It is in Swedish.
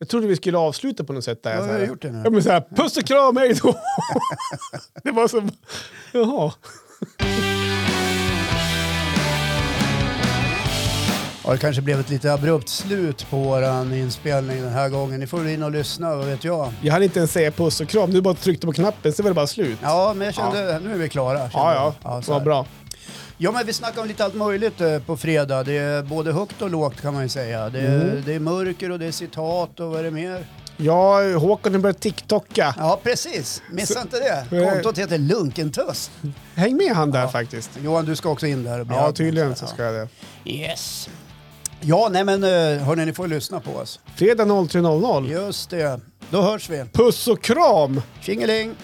Jag trodde vi skulle avsluta på något sätt. Där, Ja, så vi här. har gjort det nu. Ja, men så här, puss och kram, hej då! det var som... Jaha. Ja, det kanske blev ett lite abrupt slut på våran inspelning den här gången. Ni får väl in och lyssna, vad vet jag. Jag hann inte ens säga puss och kram, du bara tryckte på knappen så var det bara slut. Ja, men jag kände, nu är vi klara. kände Ja, jag. ja, så vad här. bra. Ja, men vi snackar om lite allt möjligt eh, på fredag. Det är både högt och lågt kan man ju säga. Det är, Mm. det är mörker och det är citat och vad är det mer? Ja, Håkan har börjat TikToka. Ja, precis. Missa inte det. Nej. Kontot heter Lunkentöst. Häng med han där faktiskt. Johan, du ska också in där och bli Ja, admin. tydligen så ska jag det. Yes. Ja, nej men eh, hörni, ni får lyssna på oss. Fredag 03.00. Just det. Då hörs vi. Puss och kram! Tjingeling!